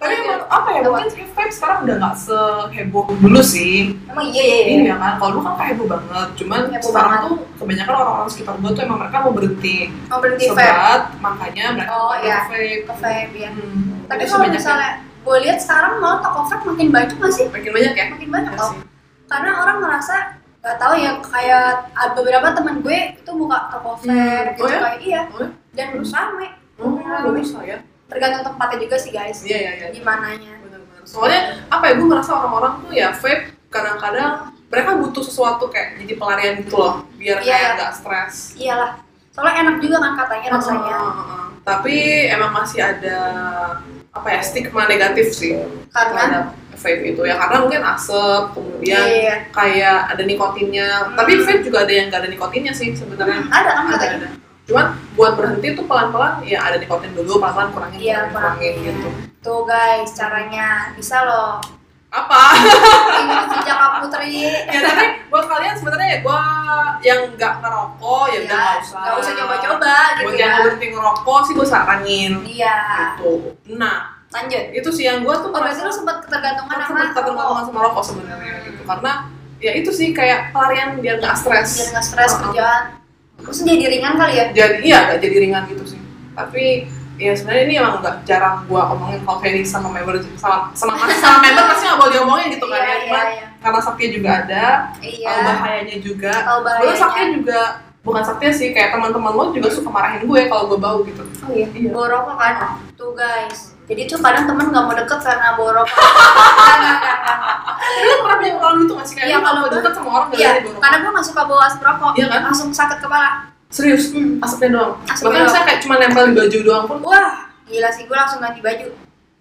Speaker 2: Tapi emang apa ya? Mungkin vape sekarang udah nggak seheboh dulu sih.
Speaker 1: emang iya iya iya
Speaker 2: Ini ya kan. Kalau dulu kan kayak heboh banget. Cuman
Speaker 1: Heboh
Speaker 2: sekarang
Speaker 1: banget.
Speaker 2: tuh kebanyakan orang-orang sekitar gua tuh emang mereka mau berhenti
Speaker 1: mau berhenti vape
Speaker 2: sebat, makanya mereka
Speaker 1: Oh,
Speaker 2: pakai
Speaker 1: iya.
Speaker 2: vape.
Speaker 1: ke vape ya
Speaker 2: Hmm.
Speaker 1: tapi
Speaker 2: Itu
Speaker 1: kalau
Speaker 2: sebanyak
Speaker 1: misalnya gue lihat sekarang malah toko vape makin banyak nggak sih
Speaker 3: makin banyak ya
Speaker 1: makin banyak
Speaker 2: Iya
Speaker 1: tau
Speaker 2: sih.
Speaker 1: karena orang merasa nggak tahu ya kayak ada beberapa teman gue itu buka toko vape
Speaker 2: Hmm.
Speaker 1: gitu
Speaker 2: Oh ya?
Speaker 1: kayak iya
Speaker 2: Oh ya?
Speaker 1: dan rame
Speaker 2: Oh,
Speaker 1: Rame.
Speaker 2: bagus lah ya.
Speaker 1: tergantung tempatnya juga sih guys
Speaker 2: Iya, iya, iya.
Speaker 1: Gimananya.
Speaker 2: Benar-benar. Soalnya apa ya gue merasa orang-orang tuh ya vape kadang-kadang mereka butuh sesuatu kayak jadi pelarian gitu loh biar
Speaker 1: Iya,
Speaker 2: kayak
Speaker 1: iya.
Speaker 2: nggak stres.
Speaker 1: iyalah soalnya enak juga kan katanya rasanya
Speaker 2: Heeh, heeh, heeh. Tapi emang masih ada apa ya stigma negatif sih
Speaker 1: karena
Speaker 2: terhadap vape itu ya karena mungkin asap kemudian
Speaker 1: Iya. Hmm.
Speaker 2: kayak ada nikotinnya. Tapi vape juga ada yang nggak ada nikotinnya sih sebenarnya.
Speaker 1: ada kan
Speaker 2: ada
Speaker 1: katanya
Speaker 2: ada cuman buat berhenti tuh pelan-pelan ya ada nikotin dulu pelan-pelan kurangin
Speaker 1: Iya,
Speaker 2: kurangin, kurangin
Speaker 1: kurangin.
Speaker 2: gitu
Speaker 1: tuh guys caranya bisa loh
Speaker 2: apa
Speaker 1: [LAUGHS] ini sejak Kak
Speaker 2: [LAUGHS]
Speaker 1: Putri
Speaker 2: ya tapi buat kalian sebenarnya ya gua yang nggak ngerokok ya udah nggak usah
Speaker 1: Iya, nggak usah coba-coba
Speaker 2: buat
Speaker 1: gitu
Speaker 2: yang
Speaker 1: ya
Speaker 2: mau berhenti ngerokok sih gua saranin
Speaker 1: iya
Speaker 2: gitu nah
Speaker 1: lanjut
Speaker 2: itu sih yang gua tuh
Speaker 1: oh berarti lu sempat ketergantungan sama
Speaker 2: ketemu sama rokok sebenarnya gitu karena ya itu sih kayak pelarian biar nggak
Speaker 1: biar
Speaker 2: stres
Speaker 1: nggak stres
Speaker 2: Uh-uh.
Speaker 1: kerjaan terus jadi ringan kali ya
Speaker 2: jadi iya nggak jadi ringan gitu sih tapi ya sebenarnya ini emang nggak jarang gua omongin kalau Ferry sama member sama sama, sama member pasti nggak boleh diomongin gitu kan ya
Speaker 1: iya
Speaker 2: Cuman
Speaker 1: iya
Speaker 2: karena saktinya juga ada
Speaker 1: iya
Speaker 2: tahu bahayanya juga
Speaker 1: Tahu
Speaker 2: gue
Speaker 1: bahayanya.
Speaker 2: saktinya juga bukan saktinya sih kayak teman-teman lo juga suka marahin gue kalau gue bau gitu
Speaker 1: Oh iya,
Speaker 2: Iya.
Speaker 1: bawa rokok kan? Tuh guys, jadi tuh kadang temen gak mau deket karena bawa
Speaker 2: [LAUGHS]
Speaker 1: rokok. Nggak, nggak, nggak, nggak.
Speaker 2: tapi lo pernah punya pengalaman gitu nggak sih kayak
Speaker 1: Iya,
Speaker 2: lo kalau
Speaker 1: kalau
Speaker 2: udah
Speaker 1: gue-
Speaker 2: deket sama orang
Speaker 1: Iya,
Speaker 2: gara-gara dia bau
Speaker 1: karena gue gak suka bawa asap rokok,
Speaker 2: Iya kan?
Speaker 1: langsung sakit kepala.
Speaker 2: serius
Speaker 1: Hmm.
Speaker 2: asapnya doang
Speaker 1: Asapnya
Speaker 2: bahkan
Speaker 1: doang.
Speaker 2: misalnya kayak cuma nempel di baju doang pun
Speaker 1: Wah, gila sih, gue langsung ganti baju.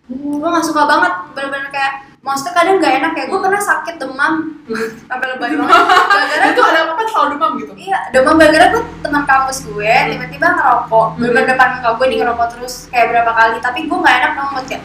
Speaker 2: Hmm.
Speaker 1: Gue gak suka banget, bener-bener kayak Maksudnya kadang gak enak ya, gue pernah sakit demam
Speaker 2: Hmm.
Speaker 1: Sampai lebay banget [LAUGHS] Gara-gara
Speaker 2: [LAUGHS] itu ada apa-apa selalu demam gitu
Speaker 1: Iya, demam gara-gara gue teman kampus gue
Speaker 2: Hmm.
Speaker 1: tiba-tiba ngerokok Bener-bener depan muka gue di ngerokok terus kayak berapa kali Tapi gue gak enak dong mood ya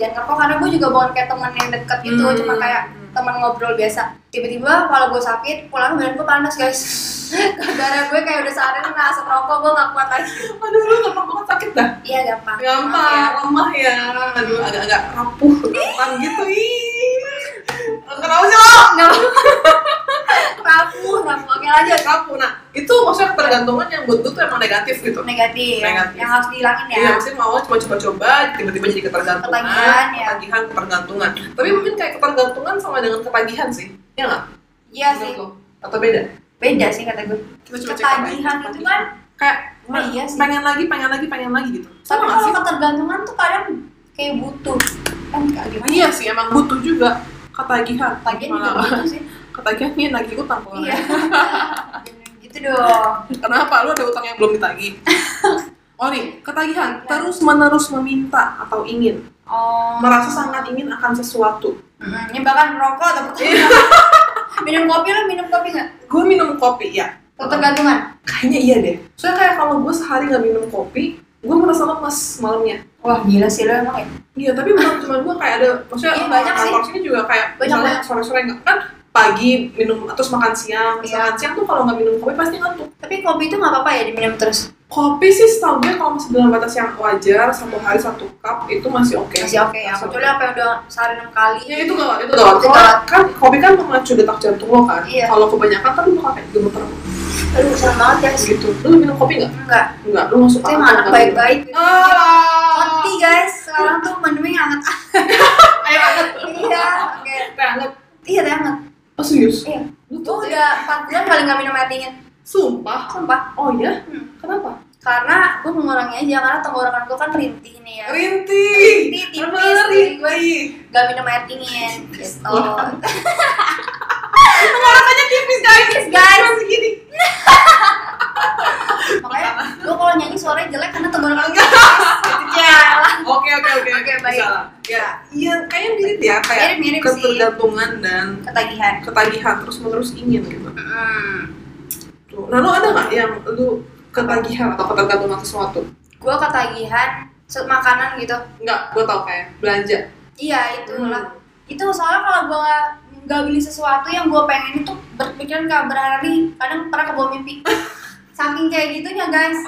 Speaker 1: Jangan ngerokok karena gue juga bukan kayak temen yang deket gitu
Speaker 2: Hmm.
Speaker 1: Cuma kayak teman ngobrol biasa Tiba-tiba kalau gue sakit, pulang badan gue panas guys [LAUGHS] Gara-gara gue kayak udah seharian kena asap rokok, gue gak kuat lagi
Speaker 2: aduh lu gampang banget sakit dah
Speaker 1: Iya gampang Maaf ya.
Speaker 2: gampang lemah ya aduh agak-agak rapuh rentan gitu ih kenapa sih lo
Speaker 1: ya. rapuh rapuh oke lanjut
Speaker 2: rapuh nah itu maksudnya ketergantungan yang buat gue tuh emang negatif gitu
Speaker 1: negatif,
Speaker 2: Negatif.
Speaker 1: yang harus dihilangin ya
Speaker 2: Iya, maksudnya mau cuma coba-coba, tiba-tiba jadi ketergantungan,
Speaker 1: Ketagihan, ya.
Speaker 2: ketagihan, ketergantungan. Tapi mungkin kayak ketergantungan sama dengan ketagihan sih, ya nggak?
Speaker 1: iya sih
Speaker 2: Menurut lo? Atau beda?
Speaker 1: beda sih kata gue
Speaker 2: Kita coba cek apa ya.
Speaker 1: ketagihan itu kan
Speaker 2: Kayak
Speaker 1: Oh, iya sih.
Speaker 2: pengen lagi, pengen lagi, pengen lagi gitu.
Speaker 1: tapi
Speaker 2: Sama nggak
Speaker 1: kalau
Speaker 2: sih?
Speaker 1: ketergantungan tuh kadang kayak butuh kan kayak gimana
Speaker 2: Iya sih, emang butuh juga ketagihan.
Speaker 1: Ketagihan juga
Speaker 2: Malah-
Speaker 1: butuh sih
Speaker 2: [LAUGHS] Ketagihan nih lagi utang kok.
Speaker 1: iya [LAUGHS] Jangan gitu dong
Speaker 2: Kenapa? Lu ada utang yang belum
Speaker 1: [LAUGHS]
Speaker 2: ditagih? Oh nih, ketagihan
Speaker 1: Iya.
Speaker 2: terus menerus meminta atau ingin
Speaker 1: oh
Speaker 2: merasa sangat Iya. ingin akan sesuatu.
Speaker 1: Mm, ini bahkan merokok atau pertanyaan [LAUGHS] minum kopi lo minum kopi nggak
Speaker 2: Gue minum kopi ya,
Speaker 1: ketergantungan
Speaker 2: Kayaknya iya deh. Soalnya kayak kalau gue sehari nggak minum kopi, gue merasa lemes malamnya.
Speaker 1: wah gila sih lo emang ya
Speaker 2: Iya, tapi bukan cuma gue kayak ada, maksudnya
Speaker 1: Iya, banyak sih.
Speaker 2: kantor sini juga kayak
Speaker 1: Banyak,
Speaker 2: misalnya
Speaker 1: banyak.
Speaker 2: sore-sore nggak kan pagi minum terus makan siang, Terus
Speaker 1: Iya.
Speaker 2: makan siang tuh kalau nggak minum kopi pasti ngantuk.
Speaker 1: tapi kopi itu nggak apa-apa ya diminum terus
Speaker 2: Kopi sih setahu gue kalau masih dalam batas yang wajar satu hari satu cup itu masih oke.
Speaker 1: masih oke ya
Speaker 2: Masih
Speaker 1: kecuali apa yang udah sehari enam kali
Speaker 2: Ya itu gak, itu gak.
Speaker 1: Itu
Speaker 2: Kalau kan kopi kan memacu detak jantung lo kan.
Speaker 1: Iya.
Speaker 2: Kalau kebanyakan kan lu bakal kayak gemeter
Speaker 1: aduh serem banget ya sih
Speaker 2: gitu. Lu minum kopi nggak?
Speaker 1: enggak
Speaker 2: Nggak. Lu masuk
Speaker 1: itu emang anak
Speaker 2: nggak minum.
Speaker 1: baik-baik
Speaker 2: Ah.
Speaker 1: Hoti guys, sekarang tuh menunya hangat [LAUGHS]
Speaker 2: Ayo angkat.
Speaker 1: Iya, oke
Speaker 2: Teh hangat.
Speaker 1: Iya, teh hangat
Speaker 2: Oh serius?
Speaker 1: Iya
Speaker 2: Lu
Speaker 1: Gue
Speaker 2: tuh teh-
Speaker 1: udah 4 bulan kali nggak minum air dingin
Speaker 2: Oh, Sumpah.
Speaker 1: Sumpah
Speaker 2: Oh ya?
Speaker 1: Hmm.
Speaker 2: Kenapa?
Speaker 1: Karena gue mengurangi aja, karena tenggorokan gue kan rintih nih ya
Speaker 2: Rintih.
Speaker 1: Rintih, tipis.
Speaker 2: Kenapa rintih?
Speaker 1: Gak minum air dingin Gitu
Speaker 2: Wah. Tenggorokannya tipis guys.
Speaker 1: Tipis, guys.
Speaker 2: Cuma segini.
Speaker 1: Makanya gue kalau nyanyi suaranya jelek karena Iya. tenggorokan gue tipis. Jalan
Speaker 2: Oke oke oke.
Speaker 1: Oke, baik.
Speaker 2: Bisa lah. Ya, iya kayaknya mirip ya kayak
Speaker 1: Mirip-mirip sih.
Speaker 2: ketergantungan dan
Speaker 1: Ketagihan
Speaker 2: ketagihan terus menerus ingin gitu.
Speaker 1: hmm.
Speaker 2: Tuh. Nah lu ada nggak yang lu ketagihan atau ketergantungan sesuatu?
Speaker 1: Gue ketagihan se- makanan gitu
Speaker 2: Enggak, gua tau kayak belanja.
Speaker 1: Iya itu lah. Itu soalnya kalau gue nggak beli sesuatu yang gue pengen itu berpikiran nggak berhari kadang pernah kebawa
Speaker 2: [LAUGHS]
Speaker 1: mimpi. Saking kayak gitunya guys.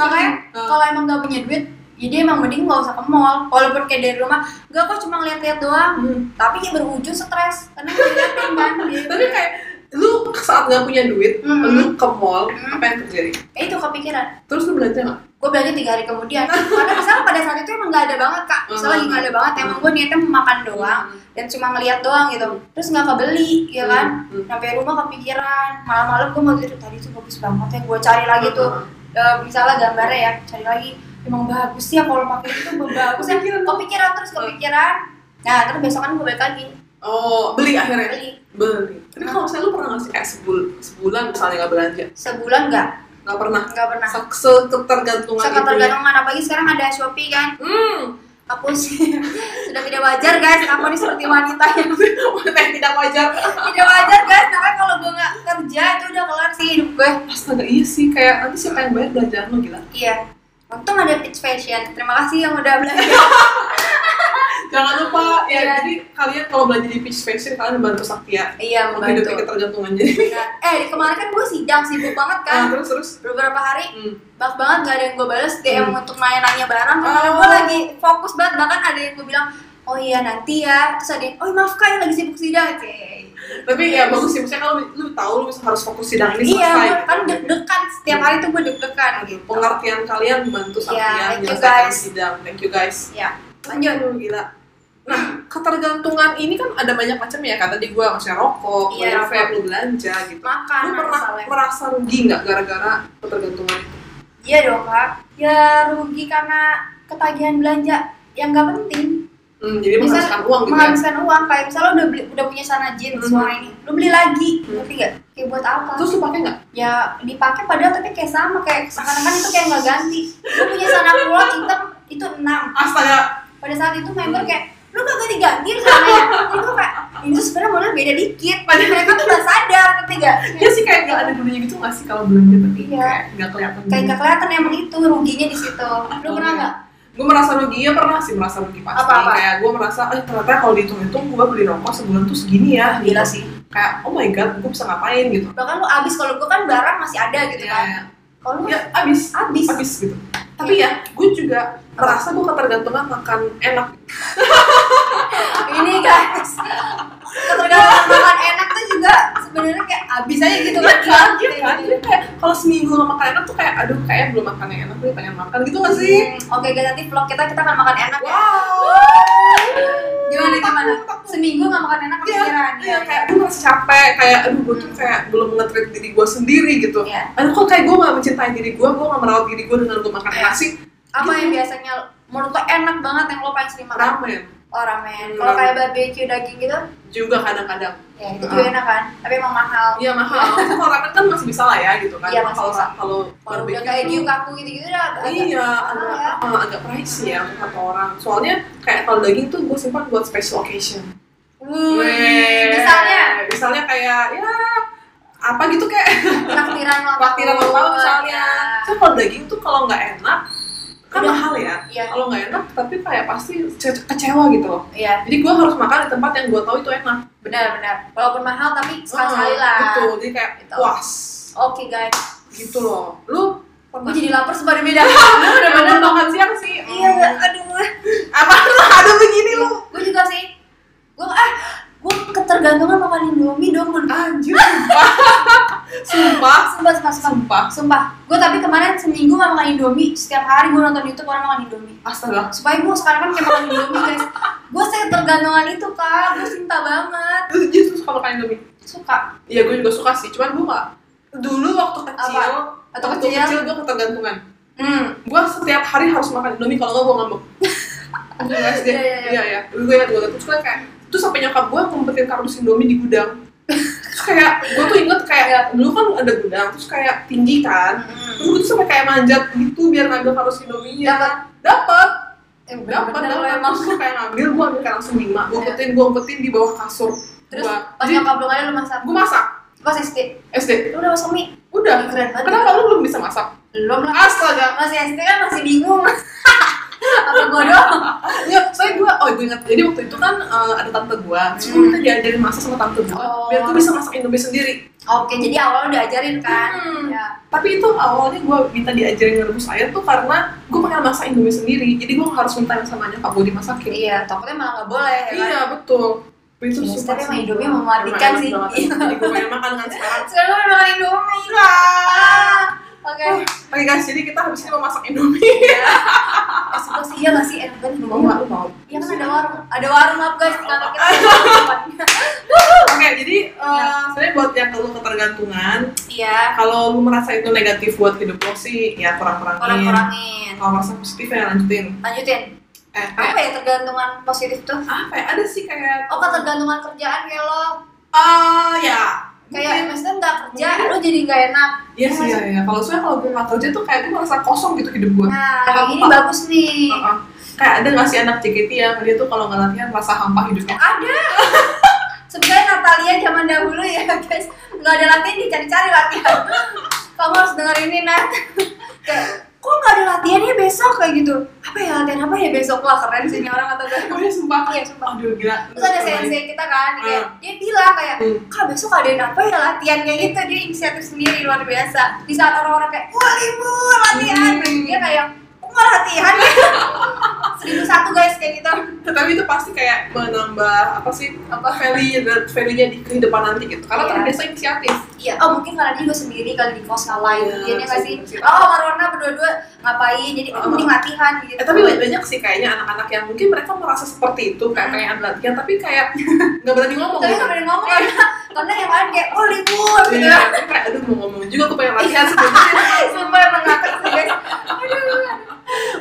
Speaker 1: Makanya
Speaker 2: Hmm.
Speaker 1: kalau emang nggak punya duit, jadi emang mending nggak usah ke mall. Walaupun kayak dari rumah, gak kok cuma ngeliat-liat doang.
Speaker 2: Hmm.
Speaker 1: Tapi ya berujung stres karena ngeliatin kan.
Speaker 2: [LAUGHS]
Speaker 1: Jadi,
Speaker 2: Tapi kayak lu saat nggak punya duit,
Speaker 1: Hmm.
Speaker 2: lu ke mall,
Speaker 1: Hmm.
Speaker 2: apa yang terjadi?
Speaker 1: ya itu kepikiran.
Speaker 2: Terus lu belanja nggak?
Speaker 1: gue bilangnya tiga hari kemudian karena misalnya pada saat itu emang nggak ada banget kak misalnya lagi nggak ada banget emang gue niatnya mau makan doang dan cuma ngeliat doang gitu terus nggak kebeli ya kan
Speaker 2: Hmm.
Speaker 1: sampai rumah kepikiran malam-malam gue mau tidur tadi tuh bagus banget ya gue cari lagi tuh
Speaker 2: Hmm.
Speaker 1: Eh, misalnya gambarnya ya cari lagi emang bagus ya kalau pakai itu
Speaker 2: [LAUGHS]
Speaker 1: bagus ya
Speaker 2: Kepikiran.
Speaker 1: kepikiran terus
Speaker 2: Hmm.
Speaker 1: kepikiran nah terus besokan gue balik lagi
Speaker 2: Oh, beli akhirnya.
Speaker 1: beli
Speaker 2: Beli. Tapi kalau misalnya lu pernah nggak sih kayak sebul sebulan misalnya nggak belanja?
Speaker 1: sebulan nggak
Speaker 2: Nggak pernah.
Speaker 1: nggak pernah
Speaker 2: Se Seketergantungan itu ya.
Speaker 1: seketergantungan apalagi sekarang ada shopee kan
Speaker 2: Hmm. [LAUGHS]
Speaker 1: aku sih [LAUGHS] sudah tidak wajar guys aku ini seperti wanita yang
Speaker 2: Wanita yang tidak wajar.
Speaker 1: tidak wajar guys karena kalau gue nggak kerja itu udah kelar sih hidup gue
Speaker 2: Astaga, iya sih. Kayak nanti siapa yang bayar belanjaan lu gila?
Speaker 1: iya untung ada pitch fashion terima kasih yang udah
Speaker 2: [LAUGHS]
Speaker 1: belanja
Speaker 2: Jangan lupa
Speaker 1: Iya.
Speaker 2: ya. Jadi kalian kalau belanja di Peach Factory kalian bantu Saktia.
Speaker 1: iya
Speaker 2: Untuk hidup
Speaker 1: membantu
Speaker 2: ketergantungan jadi.
Speaker 1: Benar. eh kemarin kan gue sidang sibuk banget kan
Speaker 2: Ah, terus terus.
Speaker 1: beberapa hari
Speaker 2: Hmm.
Speaker 1: banyak banget gak ada yang gue balas DM
Speaker 2: Hmm.
Speaker 1: untuk nanya-nanya barang karena
Speaker 2: Oh.
Speaker 1: gue lagi fokus banget bahkan ada yang gue bilang oh iya nanti ya terus ada yang oh maaf kak ya lagi sibuk sidang Cie.
Speaker 2: Tapi ya bagus sih. Misalnya kalau lu tahu lu bisa harus fokus sidang ini
Speaker 1: iya
Speaker 2: selesai.
Speaker 1: gua kan deg-degan setiap hari tuh gue deg-degan gitu
Speaker 2: Pengertian kalian membantu Saktia
Speaker 1: Iya, thank you,
Speaker 2: menyelesaikan
Speaker 1: guys.
Speaker 2: sidang. Thank you guys.
Speaker 1: ya lanjut
Speaker 2: Aduh, gila. Nah, ketergantungan ini kan ada banyak macam ya. Kata di gua maksudnya rokok,
Speaker 1: Iya,
Speaker 2: bayar vape, lu belanja gitu.
Speaker 1: makan
Speaker 2: lu pernah
Speaker 1: misalnya.
Speaker 2: merasa rugi nggak gara-gara ketergantungan? itu?
Speaker 1: iya dong kak ya rugi karena ketagihan belanja yang gak penting
Speaker 2: Hmm, jadi
Speaker 1: Misal-
Speaker 2: menghabiskan uang gitu ya.
Speaker 1: menghabiskan uang kayak misalnya udah beli udah punya sana jeans
Speaker 2: Mhm.
Speaker 1: warna ini lu beli lagi
Speaker 2: Mhm.
Speaker 1: ngerti gak kayak buat apa
Speaker 2: Terus lu pakai nggak?
Speaker 1: ya dipakai padahal tapi kayak sama kayak seakan-akan itu kayak nggak ganti lu punya sana kulot hitam itu enam
Speaker 2: Astaga,
Speaker 1: pada saat itu member kayak lu gak ganti ganti soalnya jadi gue kayak ini tuh sebenarnya model beda dikit padahal mereka tuh nggak sadar ngerti gak
Speaker 2: ya sih kayak nggak ada gunanya gitu nggak sih kalau belanja tapi
Speaker 1: Iya.
Speaker 2: kayak nggak kelihatan. gitu.
Speaker 1: kayak nggak kelihatan emang itu ruginya di situ lu pernah nggak
Speaker 2: Gue merasa rugi, ya pernah sih merasa rugi pasti.
Speaker 1: Apa-apa?
Speaker 2: Kayak gue merasa, eh ternyata kalau dihitung-hitung gue beli rokok sebulan tuh segini ya.
Speaker 1: gila
Speaker 2: gitu.
Speaker 1: sih
Speaker 2: Kayak, oh my god, gue bisa ngapain gitu.
Speaker 1: bahkan lu abis kalau gue kan barang masih ada gitu kan
Speaker 2: Ya,
Speaker 1: kalau lu
Speaker 2: ya abis.
Speaker 1: abis
Speaker 2: habis gitu tapi ya gue juga merasa gue ketergantungan makan enak
Speaker 1: ini guys ketergantungan makan enak tuh juga sebenarnya kayak abis aja gitu kan
Speaker 2: kan
Speaker 1: Gitu,
Speaker 2: gitu kan
Speaker 1: gitu.
Speaker 2: Jadi kayak kalau seminggu gak makan enak tuh kayak aduh kayak belum makan yang enak gue pengen makan gitu gak sih
Speaker 1: Hmm, Oke guys, nanti vlog kita kita akan makan enak ya.
Speaker 2: wow
Speaker 1: Gimana gimana?
Speaker 2: Takut, takut.
Speaker 1: Seminggu nggak makan enak
Speaker 2: Iya,
Speaker 1: kepikiran.
Speaker 2: iya kayak gue merasa capek kayak aduh gue tuh
Speaker 1: Hmm.
Speaker 2: kayak belum ngetrit diri gue sendiri gitu
Speaker 1: Iya.
Speaker 2: aduh kok kayak gue gak mencintai diri gue gue gak merawat diri gue dengan gue makan
Speaker 1: Iya.
Speaker 2: enak sih
Speaker 1: Apa yang biasanya menurut lo enak banget yang lo paling sering makan?
Speaker 2: ramen
Speaker 1: Oh ramen. Kalau
Speaker 2: Ramen.
Speaker 1: kayak barbecue daging gitu,
Speaker 2: juga kadang-kadang
Speaker 1: ya itu juga
Speaker 2: Ah.
Speaker 1: enak kan. Tapi emang mahal.
Speaker 2: iya mahal Maksudnya kalau ramen kan masih bisa lah ya gitu kan
Speaker 1: Iya, masih
Speaker 2: kalau
Speaker 1: bisa.
Speaker 2: kalau
Speaker 1: Kalau
Speaker 2: barbecue
Speaker 1: udah kayak
Speaker 2: tuh-
Speaker 1: diu kaku gitu-gitu udah agak-
Speaker 2: Iya, agak
Speaker 1: ya.
Speaker 2: eh, agak pricey ya untuk satu orang. Soalnya kayak kalau daging tuh gue simpan buat special occasion.
Speaker 1: Wuih,
Speaker 2: Weh,
Speaker 1: misalnya
Speaker 2: misalnya kayak ya apa gitu kayak
Speaker 1: traktiran lo
Speaker 2: praktiran lokal misalnya. Terus kalau daging tuh kalau nggak enak kan
Speaker 1: Iya. Udah.
Speaker 2: mahal ya.
Speaker 1: Iya.
Speaker 2: Kalau nggak enak tapi kayak pasti ce- kecewa gitu loh.
Speaker 1: Iya,
Speaker 2: Jadi gue harus makan di tempat yang gue tahu itu enak.
Speaker 1: benar-benar. Walaupun mahal tapi sekali-sekali
Speaker 2: Ah,
Speaker 1: lah.
Speaker 2: Betul. Jadi kayak
Speaker 1: Gitu.
Speaker 2: puas
Speaker 1: Oke guys,
Speaker 2: gitu loh. Lu
Speaker 1: gue
Speaker 2: pernah
Speaker 1: jadi lapar sebab beda. [LAUGHS] Lu
Speaker 2: bener
Speaker 1: bener-bener
Speaker 2: makan siang sih.
Speaker 1: Iya, ya, aduh.
Speaker 2: Apa lu ada begini lu?
Speaker 1: Gue juga sih. Gue ah, gue ketergantungan makan Indomie dong. Mun.
Speaker 2: Anjir, sumpah. [LAUGHS] sumpah.
Speaker 1: Sumpah, sumpah, sumpah.
Speaker 2: Sumpah.
Speaker 1: Sumpah. Gue tapi kemarin seminggu gak makan Indomie. Setiap hari gue nonton YouTube orang makan Indomie.
Speaker 2: Astaga.
Speaker 1: Supaya gue sekarang kan kayak makan Indomie guys. Gue ketergantungan itu kak. Gue cinta banget.
Speaker 2: Lu jadi suka makan Indomie?
Speaker 1: Suka.
Speaker 2: Iya, gue juga suka sih. Cuman gue gak... Dulu waktu kecil...
Speaker 1: Apa? Atau
Speaker 2: waktu
Speaker 1: kecil?
Speaker 2: kecil, gue ketergantungan.
Speaker 1: Hmm.
Speaker 2: Gue setiap hari harus makan Indomie, kalau nggak gue
Speaker 1: [LAUGHS]
Speaker 2: ngambek. Iya guys,
Speaker 1: Iya,
Speaker 2: dia.
Speaker 1: iya, iya.
Speaker 2: Iya, iya. Dulu gue ingat gue Terus gue kayak... Terus sampai nyokap gue ngumpetin kardus Indomie di gudang. Terus kayak... Gue tuh inget kayak...
Speaker 1: Iya.
Speaker 2: Dulu kan ada gudang. Terus kayak tinggi kan.
Speaker 1: Hmm.
Speaker 2: Terus gue tuh sampai kayak manjat gitu biar ngambil kardus Indomie-nya.
Speaker 1: Dapat.
Speaker 2: Dapet!
Speaker 1: Eh,
Speaker 2: dapat
Speaker 1: bener-bener
Speaker 2: dapat
Speaker 1: lo
Speaker 2: emang
Speaker 1: emang.
Speaker 2: gue kayak ngambil gue ambil kayak langsung lima gue
Speaker 1: Iya.
Speaker 2: umpetin gue umpetin di bawah kasur
Speaker 1: Terus
Speaker 2: gue
Speaker 1: pas
Speaker 2: jadi
Speaker 1: nyokap lo kali lo masak.
Speaker 2: gue masak
Speaker 1: Pas SD.
Speaker 2: SD
Speaker 1: Lo udah masak mie.
Speaker 2: udah
Speaker 1: Keren banget.
Speaker 2: kenapa lu belum bisa masak
Speaker 1: Belum lah.
Speaker 2: astaga
Speaker 1: Masih SD kan masih bingung. [LAUGHS] Apa gue doang?
Speaker 2: ya saya gue oh gue ingat jadi waktu itu kan eh, ada tante gue terus gue
Speaker 1: Hmm.
Speaker 2: minta diajarin masak sama tante gue
Speaker 1: Oh.
Speaker 2: biar gue bisa masak indomie sendiri
Speaker 1: Oke, jadi awal udah ajarin kan.
Speaker 2: Hmm.
Speaker 1: Ya.
Speaker 2: tapi itu awalnya gue minta diajarin ngerebus air tuh karena gue pengen masak indomie sendiri jadi gue harus minta yang sama nyokap gue dimasakin
Speaker 1: Iya, takutnya malah nggak boleh ya kan?
Speaker 2: iya betul itu
Speaker 1: Yes,
Speaker 2: sumpah
Speaker 1: tapi
Speaker 2: sih.
Speaker 1: emang Indomie mematikan
Speaker 2: Emang enak
Speaker 1: sih. Iya.
Speaker 2: banget. jadi gue pengen makan kan sekarang
Speaker 1: Sekarang gue udah makan Indomie
Speaker 2: Gila.
Speaker 1: Ah, Oke guys.
Speaker 2: Oke guys, jadi kita habis ini mau masak Indomie.
Speaker 1: Eksekusi iya nggak sih? Enak banget
Speaker 2: Mau nggak? Lu mau?
Speaker 1: Iya kan ada warung, ada warung maaf guys, ternyata kita ada warung.
Speaker 2: [LAUGHS] Oke, jadi eh, sebenarnya buat yang keluh ketergantungan,
Speaker 1: Iya,
Speaker 2: kalau lu merasa itu negatif buat hidup lo sih, ya kurang-kurangin.
Speaker 1: kurang-kurangin.
Speaker 2: Kalau merasa positif ya lanjutin.
Speaker 1: Lanjutin.
Speaker 2: Eh,
Speaker 1: Apa
Speaker 2: eh,
Speaker 1: ya tergantungan positif tuh?
Speaker 2: apa ya? Ada sih kayak...
Speaker 1: Oh, ketergantungan kerjaan kayak lo
Speaker 2: Ah, ya.
Speaker 1: kayak
Speaker 2: Mungkin-
Speaker 1: maksudnya nggak kerja, lo jadi nggak enak.
Speaker 2: Iya sih, iya, iya. Kalau soalnya kalau gue nggak kerja tuh kayak gue merasa kosong gitu hidup gue.
Speaker 1: Nah, ini bagus nih.
Speaker 2: Heeh. Kayak ada nggak sih anak JKT yang dia tuh kalau nggak latihan merasa hampa hidupnya?
Speaker 1: Ada. [LAUGHS] Sebenarnya Natalia zaman dahulu ya guys, nggak ada latihan dicari-cari latihan. Kamu harus dengerin ini Nat. Kayak, kok nggak ada latihannya besok kayak gitu? Apa ya latihan apa ya besok lah keren sih ini orang atau gak?
Speaker 2: [LAUGHS] Gue sumpah.
Speaker 1: Iya, sumpah.
Speaker 2: Aduh, gila.
Speaker 1: Terus ada sensei kita kan, kayak, dia bilang kayak,
Speaker 2: Hmm.
Speaker 1: kak besok adain apa ya latihan kayak gitu dia inisiatif sendiri luar biasa di saat orang-orang kayak wah libur latihan
Speaker 2: Hmm.
Speaker 1: dia kayak kok nggak latihan ya [LAUGHS] seribu satu guys kayak gitu
Speaker 2: Tapi itu pasti kayak menambah apa sih apa value value-nya di kehidupan nanti gitu. Karena
Speaker 1: Iya.
Speaker 2: terbiasa inisiatif.
Speaker 1: iya oh mungkin karena dia juga sendiri kali di kos lain
Speaker 2: Iya,
Speaker 1: dia ya nggak sih
Speaker 2: sih.
Speaker 1: oh sama Rona berdua-dua ngapain jadi
Speaker 2: Oh.
Speaker 1: mending latihan gitu
Speaker 2: Eh, tapi banyak, banyak sih kayaknya anak-anak yang mungkin mereka merasa seperti itu kayak
Speaker 1: Hmm.
Speaker 2: pengen ada latihan tapi kayak [LAUGHS] nggak berani ngomong.
Speaker 1: tapi
Speaker 2: gitu.
Speaker 1: nggak pernah ngomong karena karena yang lain kayak oh libur gitu
Speaker 2: Iya, tapi kayak aduh mau ngomong juga aku pengen latihan
Speaker 1: Iya.
Speaker 2: [LAUGHS] sebenarnya.
Speaker 1: sumpah emang ngakak sih guys aduh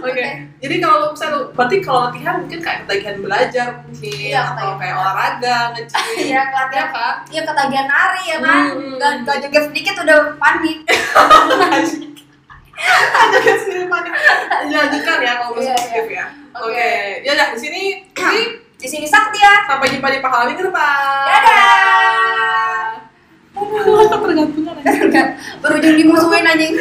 Speaker 2: Oke. Jadi kalau misalnya lu- berarti kalau latihan mungkin kayak ketagihan belajar mungkin
Speaker 1: Iya,
Speaker 2: atau
Speaker 1: ketagihan.
Speaker 2: kayak olahraga nge-gym.
Speaker 1: Iya, latihan
Speaker 2: Kak.
Speaker 1: Iya ketagihan nari ya kan,
Speaker 2: Hmm.
Speaker 1: gak, gak joget sedikit udah panik
Speaker 2: Aja kan [LAUGHS] sendiri panik. Dilanjutkan ya kalau
Speaker 1: Iya,
Speaker 2: masih positif ya.
Speaker 1: Oke.
Speaker 2: Oke. Ya udah di sini [CLEARS THROAT] ini
Speaker 1: Di sini sakti ya. [LAUGHS]
Speaker 2: sampai jumpa di pahala minggu depan.
Speaker 1: Dadah.
Speaker 2: Aduh, ketergantungan aja.
Speaker 1: Berujung dimusuhin anjing.